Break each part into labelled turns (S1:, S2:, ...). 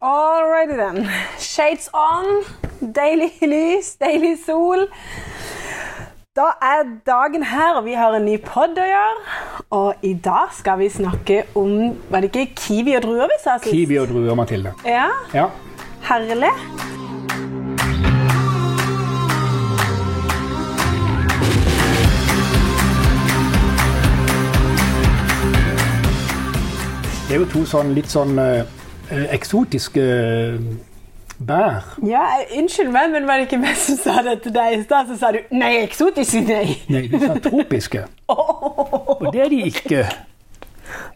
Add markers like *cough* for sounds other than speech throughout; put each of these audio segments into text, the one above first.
S1: Alrighty then. Shades on. Deilig lys, deilig sol. Da er dagen her, og vi har en ny pod å gjøre. Og i dag skal vi snakke om Var det ikke kiwi og druer vi sa sist?
S2: Kiwi og druer, Mathilde.
S1: Ja,
S2: Ja.
S1: herlig.
S2: Det er jo to sånn litt sånn eh, eksotiske eh, bær.
S1: Ja, jeg- Unnskyld meg, men var det ikke meg som sa det til deg i stad? Så sa du nei, eksotisk nei.
S2: Nei, de er
S1: *laughs*
S2: tropiske.
S3: sånn
S1: Oh.
S3: Og det er de ikke.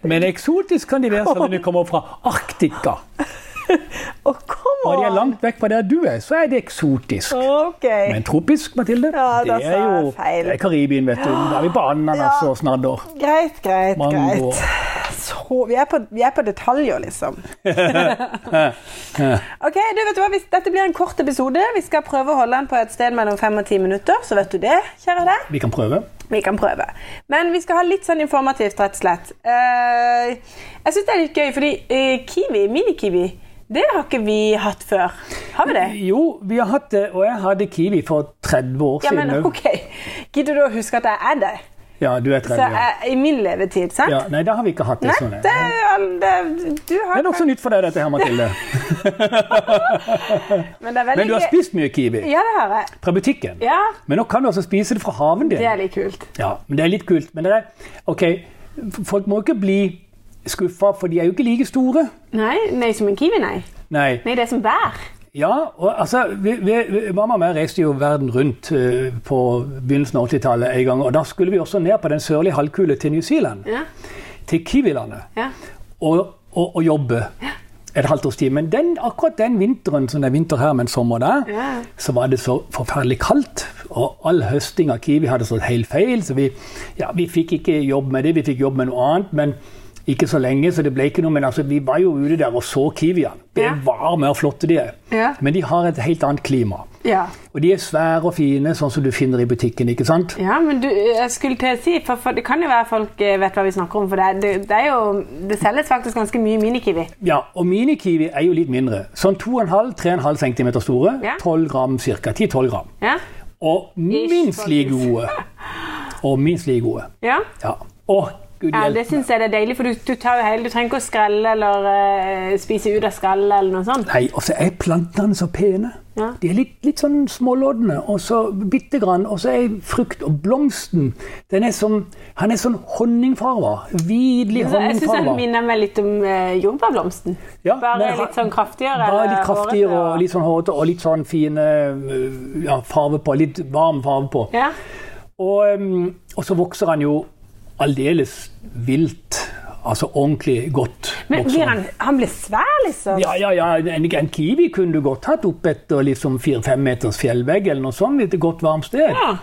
S3: Men eksotisk kan de være selv om de kommer fra Arktika.
S1: Å, kom
S3: Og de er
S1: an!
S3: langt vekk fra der du er, så er det eksotisk.
S1: Ok.
S3: Men tropisk, Mathilde,
S1: Ja, da
S3: det
S1: sa
S3: er
S1: jeg
S3: jo
S1: feil.
S3: det er Karibien, vet du. Da er vi på ananas
S1: Ja.
S3: og snadder.
S1: Greit, greit,
S3: Mango.
S1: greit. Så, vi, er på, vi er på detaljer, liksom. ok, du vet du hva? Hvis, Dette blir en kort episode. Vi skal prøve å holde den på et sted mellom fem og ti minutter. Så vet du det, kjære deg.
S2: Vi kan prøve.
S1: Vi kan prøve. Men vi skal ha litt sånn informativt, rett og slett. Eh, jeg syns det er litt gøy, fordi eh, Kiwi, Mini-Kiwi, det har ikke vi hatt før. Har vi det?
S3: Jo, vi har hatt det, og jeg hadde kiwi for 30 år
S1: Ja,
S3: siden.
S1: men ok. Gidder du å huske at jeg er det?
S2: Ja, du er
S1: Så eh,
S2: 30 år.
S1: jeg, I min levetid, sant?
S2: Ja, nei, da har vi ikke hatt det
S1: Nei,
S2: sånn.
S1: det, er jo all- det, du har
S3: Det er nokså nytt for deg, dette her, Mathilde.
S1: Men det er veldig
S3: Men du har
S1: gøy.
S3: spist mye kiwi
S1: Ja, det har jeg.
S3: fra butikken.
S1: Ja,
S3: Men nå kan du altså spise det fra haven din.
S1: det er litt kult.
S3: Ja, men det er litt kult. Men det er, ok, f- folk må ikke bli skuffa, for de er jo ikke like store.
S1: Nei, nei som en kiwi, nei.
S3: Nei.
S1: Nei, det er som bær.
S3: Ja, og altså, vi, vi, vi- Mamma og jeg reiste jo verden rundt eh, på begynnelsen av 80-tallet en gang. Og da skulle vi også ned på den sørlige halvkule til New Zealand,
S1: Ja,
S3: til Kiwilandet,
S1: ja.
S3: og, og, og jobbe. Et halvt års tid. Men den, akkurat den vinteren som det er vinter her, men sommer der,
S1: Ja.
S3: så var det så forferdelig kaldt. Og all høsting av kiwi hadde slått helt feil, så vi, ja, vi fikk ikke jobb med det. Vi fikk jobb med noe annet, men ikke så lenge, så det ble ikke noe. Men altså, vi var jo ute der og så kiwiene. Det
S1: Ja.
S3: var mer flotte de er.
S1: Ja.
S3: Men de har et helt annet klima.
S1: Ja.
S3: Og de er svære og fine, sånn som du finner i butikken, ikke sant?
S1: ja, men du, jeg skulle til å si, for, for det kan jo være folk eh, vet hva vi snakker om, for det, er- det, det er jo, det selges faktisk ganske mye mini-kiwi.
S3: Ja, og mini-kiwi er jo litt mindre. Sånn 2,5-3,5 cm store.
S1: Ja.
S3: 12 gram ca. 10-12 gram.
S1: Ja,
S3: Og minst like gode. Og minst like gode.
S1: ja.
S3: Ja. Å, gud
S1: Ja, det
S3: hjelpe meg.
S1: synes jeg det er deilig, for du, du, tar jo hele, du trenger ikke å skrelle eller eh, spise ut av skallet eller noe sånt.
S3: Nei, og så er plantene så pene.
S1: Ja.
S3: De er litt, litt sånn småloddende, og så bitte grann. Og så er frukt og blomsten den er sånn, Han er sånn honningfarva. Hvidlig
S1: Så jeg synes den
S3: honningfarva.
S1: minner meg litt om eh, jordbærblomsten.
S3: Ja,
S1: Bare
S3: men han-
S1: litt sånn kraftigere.
S3: Bare litt
S1: eller
S3: kraftigere
S1: hårete,
S3: og litt sånn hårete og litt sånn fine øh, ja, farve på. Litt varm farve på.
S1: Ja,
S3: Og, um, og så vokser han jo aldeles vilt. Altså ordentlig godt.
S1: men
S3: vokser
S1: blir han, han blir svær liksom.
S3: Ja, ja, ja. En, en kiwi kunne du godt hatt opp etter liksom fire-fem meters fjellvegg eller noe sånt. Et godt, varmt sted.
S1: Ja.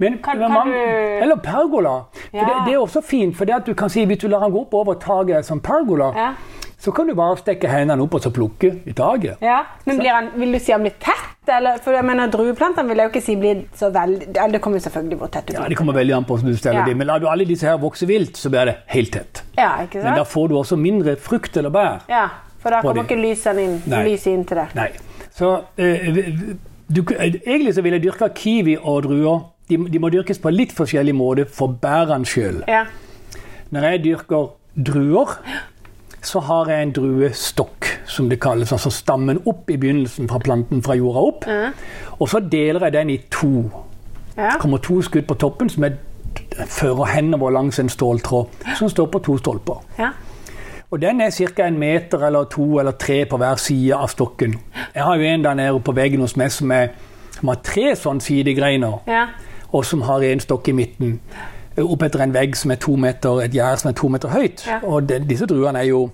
S3: Men,
S1: Kan-
S3: men
S1: kan
S3: man,
S1: du-
S3: Eller pergola. For
S1: Ja.
S3: det, det er også fint, for det at du kan si hvis du lar han gå opp over taket som pergola,
S1: Ja.
S3: så kan du bare stikke hendene opp og så plukke i taket.
S1: Ja, men blir han, Vil du si han blir tett? Eller, for jeg mener Drueplantene vil jeg jo ikke si blir så veldig eller Det kommer jo selvfølgelig hvor tett du
S3: Ja,
S1: blir.
S3: Det kommer veldig an på hvordan du steller
S1: Ja.
S3: dem. Men lar du alle disse her vokse vilt, så blir det helt tett.
S1: Ja, ikke
S3: Men da
S1: sant?
S3: får du også mindre frukt eller bær.
S1: Ja, For da
S3: Får
S1: kommer
S3: de-
S1: ikke lysene inn,
S3: Nei.
S1: lyset inn til det.
S3: Nei. Så eh, du, eh, egentlig så ville jeg dyrka kiwi og druer. De, de må dyrkes på litt forskjellig måte for bærene sjøl.
S1: Ja.
S3: Når jeg dyrker druer, så har jeg en druestokk, som det kalles. Altså stammen opp i begynnelsen fra planten fra jorda opp. Og så deler jeg den i to.
S1: ja.
S3: kommer to skudd på toppen som jeg fører henover langs en ståltråd som står på to stolper.
S1: ja.
S3: Og den er ca. en meter eller to eller tre på hver side av stokken. Jeg har jo en der nede på veggen hos meg som, er, som har tre sånne sidegreiner,
S1: ja.
S3: og som har en stokk i midten. Opp etter en vegg som er to meter, et gjerde som er to meter høyt.
S1: Ja.
S3: Og den- disse druene er jo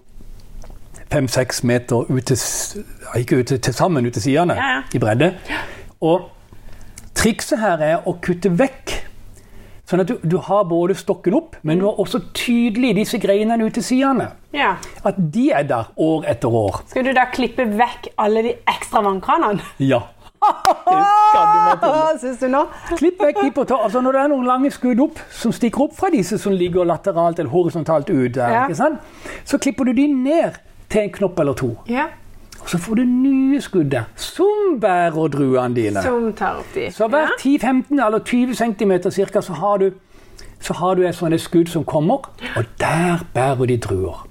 S3: fem-seks meter ut til, s- ja, ikke ut til, til sammen ut til sidene
S1: Ja, ja.
S3: i bredde. Og trikset her er å kutte vekk. Sånn at du, du har både stokken opp, men du har også tydelig disse greinene ut til sidene.
S1: ja.
S3: At de er der år etter år.
S1: Skal du da klippe vekk alle de ekstra vannkranene?
S3: Ja. skal du
S1: Syns du nå?
S3: Klipp vekk de på topp. Altså når det er noen lange skudd opp som stikker opp fra disse som ligger lateralt eller horisontalt ut, der,
S1: Ja.
S3: ikke sant? så klipper du de ned til en knopp eller to.
S1: Ja.
S3: Og så får du nye skuddet som bærer druene dine.
S1: Som tar opp de.
S3: Så hver 10-15 eller 20 cm cirka, så har du, så har du et sånt skudd som kommer, og der bærer de druer.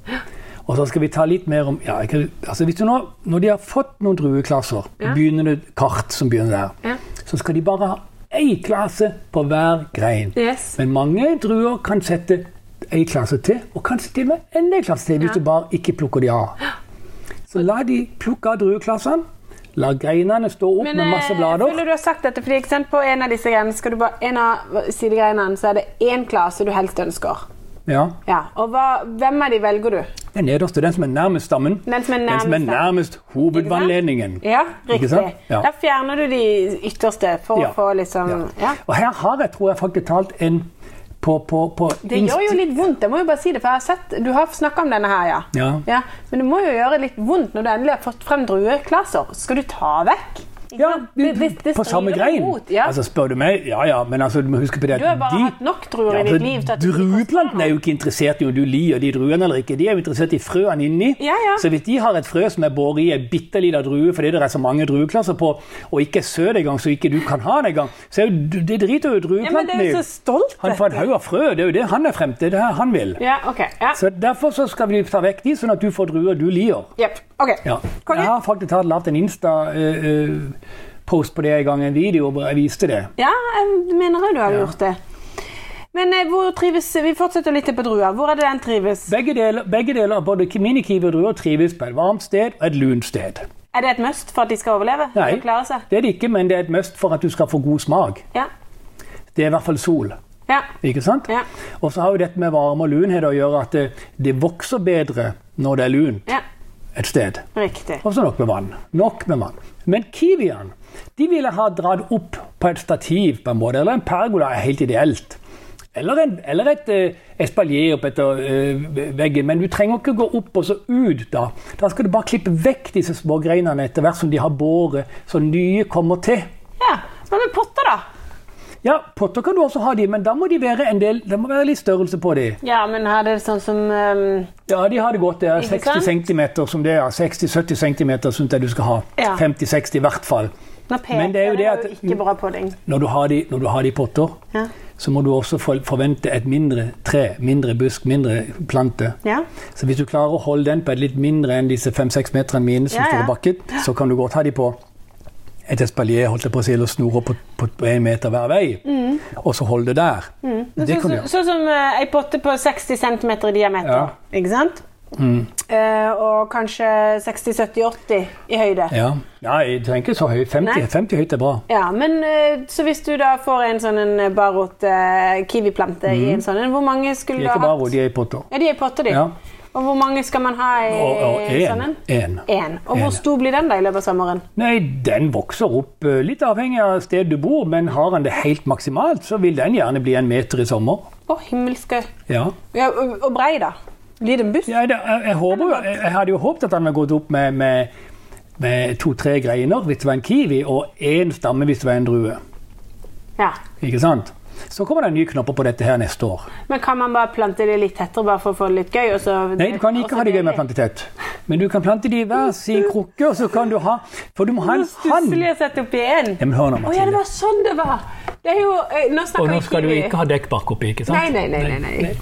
S3: Og så skal vi ta litt mer om ja, jeg, altså hvis du nå, Når de har fått noen drueklasser,
S1: Ja.
S3: begynner det kart som begynner der,
S1: Ja.
S3: så skal de bare ha én klasse på hver grein.
S1: Yes.
S3: Men mange druer kan sette én klasse til, og kanskje til og med enda en klasse til, hvis
S1: Ja.
S3: du bare ikke plukker de av. Så la de plukke av drueklassene. La greinene stå opp
S1: Men eh,
S3: med masse blader.
S1: føler du har sagt dette, fordi eksempel på en av disse greiene, skal du bare, en av sidegreinene, så er det én klasse du helst ønsker.
S3: Ja.
S1: Ja, og hva, hvem av de velger du?
S3: Den nederste, den som er nærmest stammen.
S1: Den som er nærmest stammen.
S3: nærmest hovedvannledningen.
S1: Ja,
S3: Ikke
S1: riktig.
S3: sant? Ja.
S1: Da fjerner du de ytterste for
S3: Ja.
S1: å få liksom
S3: Ja.
S1: ja.
S3: Og her har jeg, tror jeg, faktisk talt en på, på, på
S1: Det gjør jo litt vondt, jeg må jo bare si det, for jeg har sett, du har snakka om denne her, ja.
S3: Ja.
S1: Men det må jo gjøre litt vondt når du endelig har fått frem drueklaser. Skal du ta vekk? Ikke
S3: ja,
S1: sant? Det- det- det
S3: på samme
S1: strider
S3: grein.
S1: imot, Ja.
S3: Altså, spør du meg Ja ja, men altså, du må huske på det at
S1: du har bare
S3: de-
S1: hatt nok druer
S3: Ja, altså,
S1: i ditt
S3: for
S1: liv. til at du ikke får
S3: Drueplanten er jo ikke interessert i om du liker de druene eller ikke. De er jo interessert i frøene inni.
S1: Ja, ja.
S3: Så hvis de har et frø som er båret i en bitte liten drue fordi det er så mange drueklasser på, og ikke er søt engang, så ikke du kan ha den engang, så er jo, det driter jo
S1: Ja, men det
S3: drueplanten
S1: er jo så stolt,
S3: Han får en haug av frø, det er jo det han er frem til. Det er det han vil.
S1: Ja, ok. Ja.
S3: Så Derfor så skal vi ta vekk de, sånn at du får druer du liker.
S1: Jep, ok.
S3: Ja.
S1: Konge.
S3: Jeg har faktisk hatt lagt en Insta-post på det en gang, en video hvor jeg viste det.
S1: Ja, jeg mener jo du har gjort det. Men eh, hvor trives Vi fortsetter litt på druer. Hvor er det den trives?
S3: Begge deler, begge deler både minikiwi og druer trives på et varmt sted og et lunt sted.
S1: Er det et must for at de skal overleve?
S3: Nei.
S1: Og klare seg?
S3: Det er det ikke, men det er et must for at du skal få god smak.
S1: Ja.
S3: Det er i hvert fall sol.
S1: ja.
S3: Ikke sant?
S1: Ja.
S3: Og så har jo dette med varme og lunhet å gjøre at det, det vokser bedre når det er lunt
S1: Ja.
S3: et sted.
S1: Riktig.
S3: Og så nok med vann. Nok med vann. Men kiwiene de ville ha dratt opp på et stativ, på en måte, eller en pergola er helt ideelt. Eller, en, eller et eh, espalier opp etter eh, veggen. Men du trenger ikke gå opp og så ut, da. Da skal du bare klippe vekk disse små greinene etter hvert som de har båret, så nye kommer til.
S1: Ja. Hva med potter, da?
S3: Ja, potter kan du også ha, de, men da må de være en del, det må være litt størrelse på de.
S1: Ja, men her er det sånn som ehm,
S3: Ja, de har det godt. Det er
S1: Ikke
S3: 60 cm som det er. 60-70 cm syns jeg du skal ha.
S1: Ja.
S3: 50-60 i hvert fall.
S1: Nå peker
S3: Men det er jo det at-
S1: ikke bra pudding.
S3: Når du har de, når du har de i potter,
S1: Ja.
S3: så må du også for- forvente et mindre tre, mindre busk, mindre plante.
S1: Ja.
S3: Så hvis du klarer å holde den på et litt mindre enn disse 5-6 meterne mine som
S1: Ja, ja.
S3: står bakket, så kan du godt ha de på et espalier, holdt jeg på å si, eller snorer på, på en meter hver vei,
S1: Mm.
S3: og så holde det der. Det
S1: Sånn
S3: kan du
S1: som-
S3: gjøre.
S1: sånn som eh, ei potte på 60 cm i diameter.
S3: Ja. Mm.
S1: Ikke sant? Eh, og kanskje 60-70-80 i høyde.
S3: Ja. Nei, jeg trenger ikke så høy. 50,
S1: Nei.
S3: 50 høyt er bra.
S1: Ja, men eh, så hvis du da får en sånn en barot eh, kiwiplante i en sånn en, hvor mange
S3: Mhm. De
S1: skulle
S3: er
S1: du ha
S3: ikke bare hvor
S1: hatt?
S3: de er i potter.
S1: Ja, de er i potter, de.
S3: Ja.
S1: Og hvor mange skal man ha i
S3: Og, og
S1: sånn
S3: en,
S1: en?
S3: en.
S1: En. Og
S3: En.
S1: hvor stor blir den da i løpet av sommeren?
S3: Nei, den vokser opp eh, litt avhengig av stedet du bor, men har han det helt maksimalt, så vil den gjerne bli en meter i sommer.
S1: Å, himmelske
S3: Ja.
S1: ja, Og og brei, da? Blir det en buss?
S3: Ja, det, jeg, jeg, håper, jo- jeg, jeg hadde jo håpet at han hadde gått opp med, med, med to-tre greiner hvis det var en kiwi, og én stamme hvis det var en drue.
S1: Ja.
S3: Ikke sant? Så kommer det nye knopper på dette her neste år.
S1: Men kan man bare plante det litt tettere bare for å få det litt gøy? Og så,
S3: Nei, du kan
S1: og så
S3: ikke ha det gøy med
S1: deilig?
S3: plantitet, men du kan plante de i hver sin krukke, og så kan du ha For du må ha en hann.
S1: Stusslig å sette oppi én.
S3: Ja, men hør nå,
S1: Å ja, det
S3: Mathilde.
S1: var sånn det var! Det er jo eh, Nå
S3: Og
S1: snakker
S3: nå
S1: vi
S3: skal du
S1: kiwi.
S3: ikke ha dekkbark oppi, ikke sant?
S1: Nei, nei, nei, nei, nei.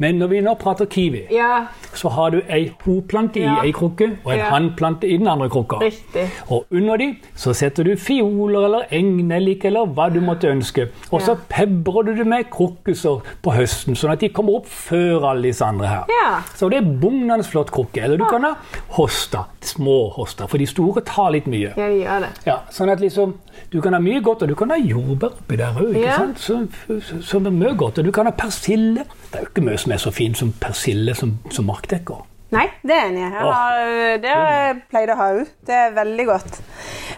S3: Men når vi nå prater kiwi
S1: Ja,
S3: så har du ei hoplante
S1: Ja.
S3: i ei krukke og en
S1: Ja.
S3: hannplante i den andre krukka.
S1: Riktig.
S3: Og under de så setter du fioler eller engnellik eller hva du måtte ønske. Og så
S1: Ja.
S3: pebrer du det med krokuser på høsten, sånn at de kommer opp før alle disse andre her.
S1: Ja.
S3: Så det er bugnende flott krukke. Eller du kan ha hosta, små hosta, for de store tar litt mye.
S1: ja, de gjør det.
S3: Ja, sånn at liksom, Du kan ha mye godt, og du kan ha jordbær oppi der òg.
S1: Ja.
S3: Som er mye godt. Og du kan ha persille. Det er jo ikke mye som er så fint som persille som, som markdekker.
S1: Nei, det er enig. Jeg
S3: Åh.
S1: har, eh, det har jeg pleid å ha òg. Det er veldig godt.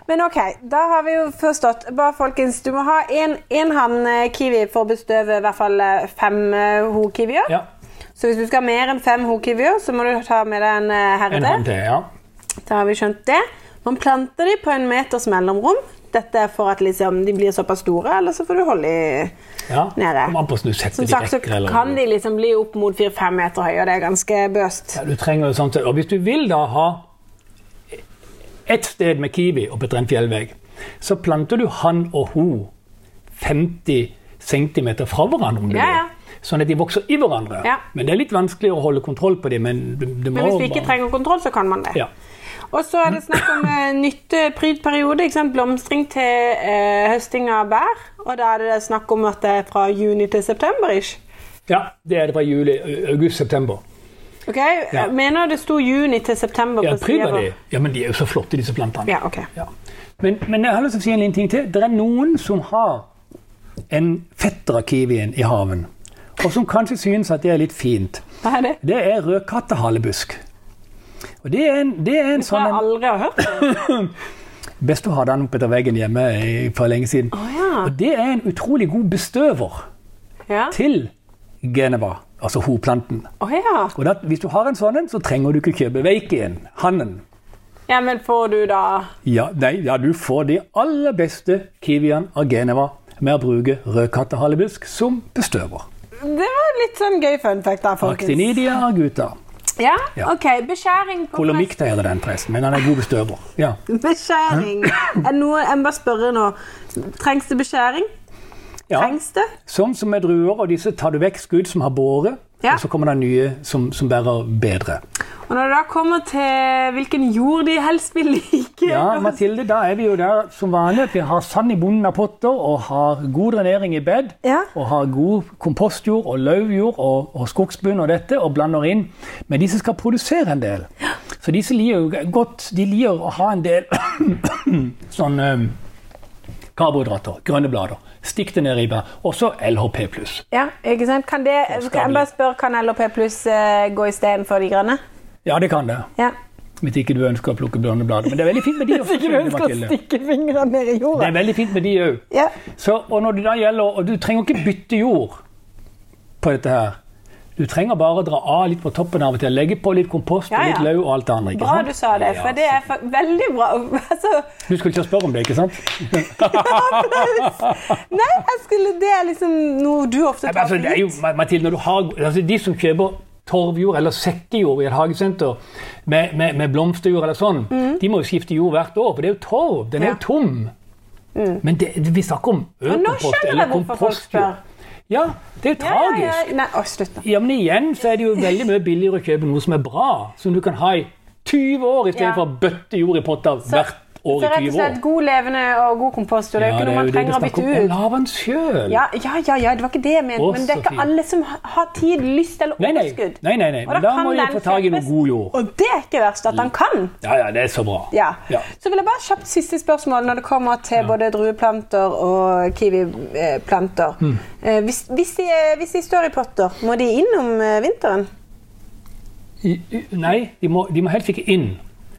S1: Men OK, da har vi jo forstått. Bare folkens, du må ha én hann eh, kiwi for å bestøve i hvert fall eh, fem eh, hokiwier.
S3: Ja,
S1: Så hvis du skal ha mer enn fem hokiwier, så må du ta med deg en eh,
S3: en
S1: herde.
S3: hånd til, ja.
S1: Da har vi skjønt det. Man planter de på en meters mellomrom. Dette er for at liksom, de blir såpass store, eller så får du holde i
S3: ja.
S1: nede.
S3: Kom an på om du setter
S1: Som
S3: de
S1: sagt så
S3: rekker, eller-
S1: kan de liksom bli opp mot fire-fem meter høye, og det er ganske bøst.
S3: Ja, du trenger jo sånt. Og hvis du vil da ha ett sted med kiwi oppe på en fjellvegg, så planter du han og hun 50 cm fra hverandre, om du
S1: Ja, ja.
S3: vil. Sånn at de vokser i hverandre.
S1: Ja.
S3: Men det er litt vanskeligere å holde kontroll på dem. Men, du, du
S1: Men
S3: må
S1: hvis vi ikke
S3: bare-
S1: trenger kontroll, så kan man det.
S3: Ja.
S1: Og så er det snakk om eh, nytteprydperiode. Ikke sant? Blomstring til eh, høsting av bær. Og da er det snakk om at det er fra juni til september. ish.
S3: ja, det er det fra juli, august-september.
S1: Ok,
S3: Ja.
S1: Mener det sto juni til september
S3: Ja,
S1: på siden
S3: pryd av
S1: vår.
S3: de. Ja, men de er jo så flotte, disse plantene.
S1: Ja, ok.
S3: Ja. Men, men jeg har lyst til å si en liten ting til. Det er noen som har en fetter av kiwien i haven, og som kanskje synes at det er litt fint.
S1: Hva er det?
S3: Det er rødkattehalebusk. Og det er en, det er en
S1: Det har
S3: sånn
S1: jeg
S3: en,
S1: aldri hørt.
S3: Best å ha den oppe etter veggen hjemme i- for lenge siden.
S1: ja.
S3: Og det er en utrolig god bestøver
S1: Ja.
S3: til Geneva, altså hoplanten.
S1: Å ja.
S3: Og da, hvis du har en sånn en, så trenger du ikke kjøpe veiken, hannen.
S1: ja, men får du da
S3: Ja, nei, ja, du får de aller beste kiwiene av Geneva med å bruke rødkattehalebusk som bestøver.
S1: Det var litt sånn gøy fun fact der, folkens.
S3: Actinidia aguta.
S1: Ja,
S3: Ja.
S1: ok. Beskjæring på
S3: Kolomikta heter den forresten, men han er god bestøver. Ja.
S1: Beskjæring. Er det noe jeg må bare spørre nå? Trengs det beskjæring?
S3: ja.
S1: Trengs det?
S3: Sånn som med druer, og disse tar du vekk skudd som har båret,
S1: Ja.
S3: og så kommer det nye som, som bærer bedre.
S1: Og når det da kommer til hvilken jord de helst vil like *laughs*
S3: Ja, Mathilde, da er vi jo der som vanlig. Vi har sand i bunnen av potter og har god drenering i bed.
S1: Ja.
S3: Og har god kompostjord og lauvjord og, og skogsbunn og dette, og blander inn. Men disse skal produsere en del. Så disse liker jo godt De liker å ha en del *coughs* sånn um, karbohydrater, grønne blader. Stikk det ned i bær. Og så LHP pluss.
S1: Ja, ikke sant? Kan det, kan jeg bare spørre, kan LHP pluss eh, gå istedenfor de grønne?
S3: Ja, det kan det.
S1: Ja.
S3: Hvis ikke du ønsker å plukke grønne blader. Men det er veldig fint med de også, Mathilde.
S1: stikke fingrene ned i
S3: Det
S1: jorda.
S3: er veldig fint med de òg.
S1: Ja.
S3: Så, og når det da gjelder, og du trenger ikke bytte jord på dette her. Du trenger bare å dra av litt på toppen av og til. Legge på litt kompost
S1: Ja, ja.
S3: og litt løv og alt det andre. ikke
S1: Bra
S3: sant?
S1: du sa det, for det er fa- veldig bra. *laughs*
S3: *laughs*
S1: Altså,
S3: Du skulle ikke spørre om det, ikke sant?
S1: nei, jeg skulle, det er liksom noe du ofte
S3: Men
S1: tar
S3: altså,
S1: for
S3: det er jo,
S1: gitt.
S3: Mathilde, når du har, altså, de som kjøper torvjord eller sekkejord i et hagesenter med, med, med blomsterjord eller sånn, de må jo skifte jord hvert år, for det er jo torv. Den er
S1: Mm. Ja. Mm.
S3: jo tom. Men det, vi snakker om
S1: nå
S3: økopost
S1: skjønner jeg
S3: eller
S1: hvorfor folk
S3: kompostjord. Ja, det er
S1: Ja, ja,
S3: tragisk.
S1: ja. Nei, å, slutt nå.
S3: Ja, men igjen så er det jo veldig mye billigere å kjøpe noe som er bra, som du kan ha i 20 år, istedenfor
S1: Ja.
S3: for å bøtte jord i potter hvert
S1: Så
S3: år i
S1: rett og
S3: 20 år.
S1: slett god levende og god kompost, og det er jo ikke noe man trenger å bytte ut.
S3: Lav den sjøl!
S1: Ja, ja, ja, ja, det var ikke det jeg mente.
S3: Å,
S1: Men det er
S3: så
S1: ikke
S3: fint.
S1: alle som ha- har tid, lyst eller
S3: Nei, nei.
S1: overskudd.
S3: Nei, nei, nei.
S1: Og
S3: Men da
S1: kan
S3: må vi
S1: den
S3: få tag i noe
S1: kjøpes.
S3: god jord.
S1: Og det er ikke verst at han kan.
S3: Ja, ja, det er så bra.
S1: Ja.
S3: Mm. Ja.
S1: Så vil jeg bare kjapt siste spørsmål når det kommer til både drueplanter og kiwiplanter.
S3: Mm.
S1: Eh, Hvis, hvis, de, hvis de står i potter, må de inn om eh, vinteren?
S3: I- i- Nei, de må, de må helst ikke inn.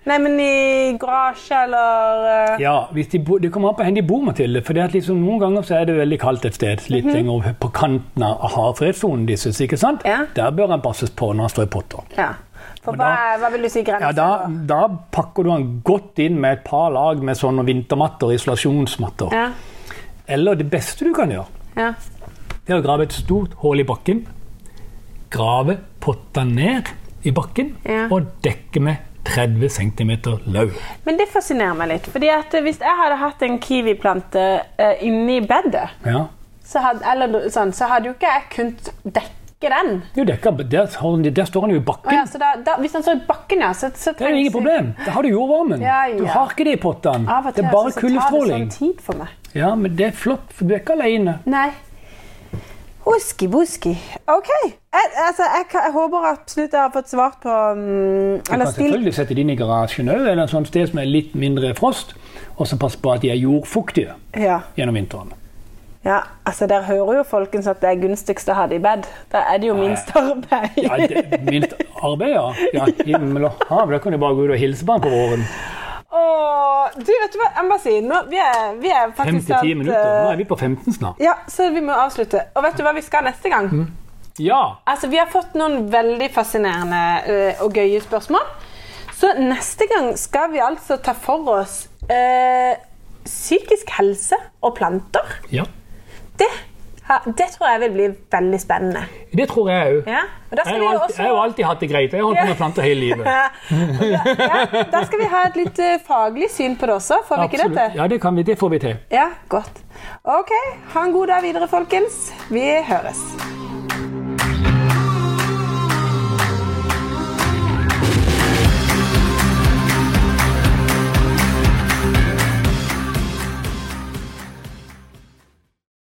S1: Nei, men i garasje eller eh,
S3: Ja, hvis de bo, Det kommer an på hvor de bor, Mathilde. For det at liksom, noen ganger så er det veldig kaldt et sted.
S1: Mhm.
S3: Litt lenger over på kanten av havfredsonen deres. ikke sant?
S1: Ja.
S3: Der bør han passes på når han står i potter.
S1: Ja. For
S3: Men
S1: hva,
S3: da-
S1: hva vil du si grensen
S3: Ja, da,
S1: var?
S3: da pakker du den godt inn med et par lag med sånne vintermatter, isolasjonsmatter.
S1: Ja.
S3: Eller det beste du kan gjøre,
S1: ja.
S3: det er å grave et stort hull i bakken. Grave pottene ned i bakken
S1: Ja.
S3: og dekke med 30 cm løv.
S1: Men det fascinerer meg litt. fordi at hvis jeg hadde hatt en kiwiplante eh, inni bedet
S3: Ja.
S1: så hadde, eller sånn, så hadde jo ikke jeg kunnet dekke den.
S3: Du dekker, der, har den- der står den jo i
S1: Å
S3: bakken.
S1: Ja, så da, da, hvis den står i bakken, ja, så, så
S3: Det er jo ingen problem. Da har du jordvarmen.
S1: Ja, ja.
S3: Du har ikke det i pottene.
S1: Av og til
S3: Det er bare
S1: altså, så tar det
S3: kuldestråling.
S1: sånn tid for meg.
S3: Ja, men det er flott, for du er ikke alene.
S1: Nei. Oski boski. OK. Jeg, altså, jeg, kan- jeg håper absolutt jeg har fått svart på mm,
S3: Du
S1: Eller
S3: kan
S1: stilt
S3: selvfølgelig sette det inn i garasjen òg, eller et sånt sted som er litt mindre frost. Og så passe på at de er jordfuktige
S1: ja.
S3: gjennom vinteren.
S1: ja. Altså, der hører jo folkens at det er gunstigst å ha det i bed. Da er det jo minst arbeid.
S3: Ja, det, mildt arbeid, ja. ja himmel og hav, da kan du bare gå ut og hilse på han på våren.
S1: Åh, du, vet du hva, jeg må bare si nå, vi, er, vi er
S3: Fem
S1: faktisk
S3: til ti
S1: snart,
S3: minutter. Nå
S1: eh,
S3: er vi på 15 snart.
S1: Ja, så vi må avslutte. Og vet du hva vi skal neste gang?
S3: Mm. Ja.
S1: Altså, Vi har fått noen veldig fascinerende eh, og gøye spørsmål. Så neste gang skal vi altså ta for oss eh, psykisk helse og planter.
S3: ja.
S1: Det Ha, Det tror jeg vil bli veldig spennende.
S3: Det tror jeg òg.
S1: Ja, og da
S3: Jeg
S1: skal vi
S3: har
S1: jo
S3: jo alltid,
S1: også...
S3: jeg har jo alltid hatt det greit. Jeg har holdt på med planter hele livet.
S1: *laughs* Ja, og da- ja, da skal vi ha et litt eh, faglig syn på det også, får vi ikke dette?
S3: Ja, det, kan vi, det får vi til.
S1: Ja, godt. Ok, ha en god dag videre, folkens. Vi høres.